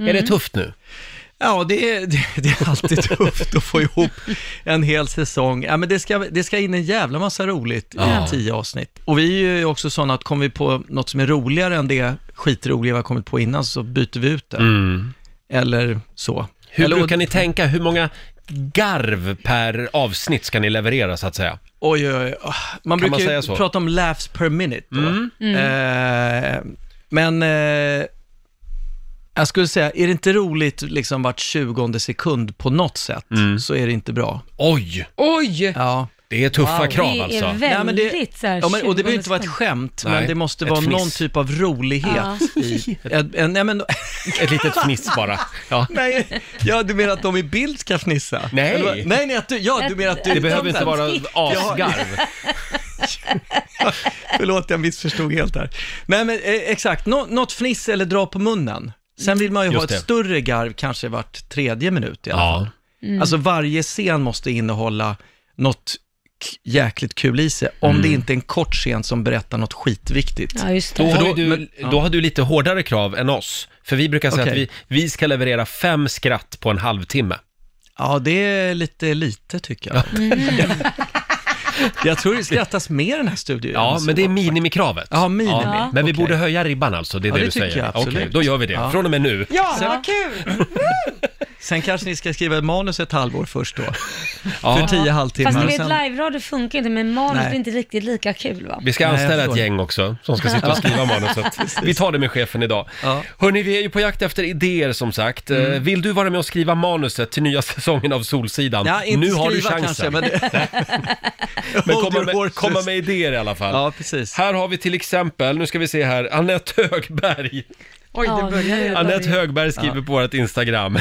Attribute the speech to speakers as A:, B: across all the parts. A: Är det tufft nu?
B: Ja, det är, det, det är alltid tufft att få ihop en hel säsong. Ja, men det, ska, det ska in en jävla massa roligt
A: Ja.
B: i tio avsnitt. Och vi är ju också sådana att kommer vi på något som är roligare än det skitroliga vi har kommit på innan så byter vi ut det. Eller så.
A: Mm. Hur
B: Eller,
A: brukar ni tänka? Hur många garv per avsnitt ska ni leverera så att säga?
B: Oj, oj, oj. Ah, Man
A: Kan man
B: brukar
A: säga
B: ju
A: så? Mm.
B: prata om laughs per minute. Då. Eh, men eh, jag skulle säga, är det inte roligt liksom vart 20 sekund på något sätt,
A: Mm.
B: så är det inte bra.
A: Oj!
C: Oj!
B: Ja.
A: Det är tuffa
C: Det
A: krav
C: är
A: alltså.
B: Nej, men
C: väldigt
B: det-
C: så här
B: Ja, men, och det behöver inte vara ett
C: 20
B: skämt,
A: Nej,
B: men det måste
A: ett
B: vara någon
A: fniss.
B: typ av rolighet.
C: Ja.
B: I, en, en, nej, men,
A: Ett litet fniss bara. Ja.
B: nej, ja, du menar att de i bild ska fnissa?
A: Nej.
B: Eller vad? nej, nej att du, ja, du menar att du...
A: Det behöver inte vara asgarv.
B: Förlåt, jag missförstod helt här. Nej, men eh, exakt, Nå, något fniss eller dra på munnen. Sen vill man ju
A: Just
B: ha ett
A: det.
B: större garv, kanske vart tredje minut i alla fall.
A: Ja.
C: Mm.
B: Alltså varje scen måste innehålla något k- jäkligt kul i sig, om
A: Mm.
B: det inte är en kort scen som berättar något skitviktigt.
C: Ja, just
A: Då
C: det.
A: har,
B: För då-
A: ju du,
B: men- ja.
A: då har du lite hårdare krav än oss. För vi brukar säga att vi,
B: Okej.
A: vi ska leverera fem skratt på en halvtimme.
B: Ja, det är lite lite tycker jag. jag tror det skrattas mer i den här studion.
A: Ja, men det är minimikravet.
B: Ja, minimi.
A: Men vi
B: Okej.
A: borde höja ribban alltså, det är
B: Ja,
A: det,
B: det
A: du
B: tycker
A: säger.
B: jag absolut.
A: Okej, då gör vi det.
B: Ja.
A: Från och med nu.
D: Ja, vad kul!
B: Sen kanske ni ska skriva ett manus ett halvår först då.
A: Ja.
B: För tio halvtimmar.
C: Fast ni
B: och
C: vet,
B: sen-
C: live-radio funkar inte, men manus
B: Nej.
C: är inte riktigt lika kul va?
A: Vi ska
B: Nej, jag
A: anställa ett
B: förstår.
A: gäng också som ska sitta och skriva manuset. Vi tar det med chefen idag.
B: Ja. Mm.
A: Hörni, vi är ju på jakt efter idéer som sagt. Eh, Vill du vara med och skriva manuset till nya säsongen av Solsidan?
B: Ja, inte
A: nu har du
B: skriva
A: chansen.
B: kanske, men...
A: Men
B: Hold
A: komma,
B: your
A: med,
B: horses.
A: komma med idéer i alla fall.
B: Ja, precis.
A: Här har vi till exempel, nu ska vi se här, Anette Högberg.
D: Oj, det
C: Ja,
D: börjar
C: nu-
D: redan.
A: Anette Högberg skriver på vårt Instagram.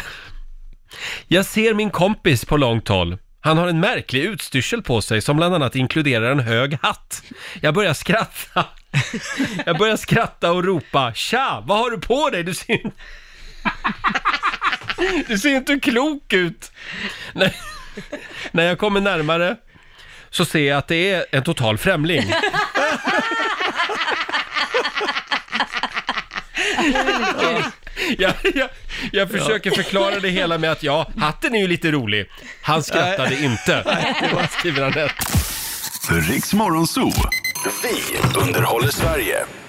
A: Jag ser min kompis på långt håll. Han har en märklig utstyrsel på sig som bland annat inkluderar en hög hatt. Jag börjar skratta. Jag börjar skratta och ropa “Tja, vad har du på dig? Du ser, inte- du ser inte klok ut!” när, när jag kommer närmare så ser jag att det är en total främling. Jag, jag, jag försöker förklara det hela med att ja, hatten är ju lite rolig. Han skrattade inte, skriver Anette.
E: Riks Morgonzoo. Vi underhåller Sverige.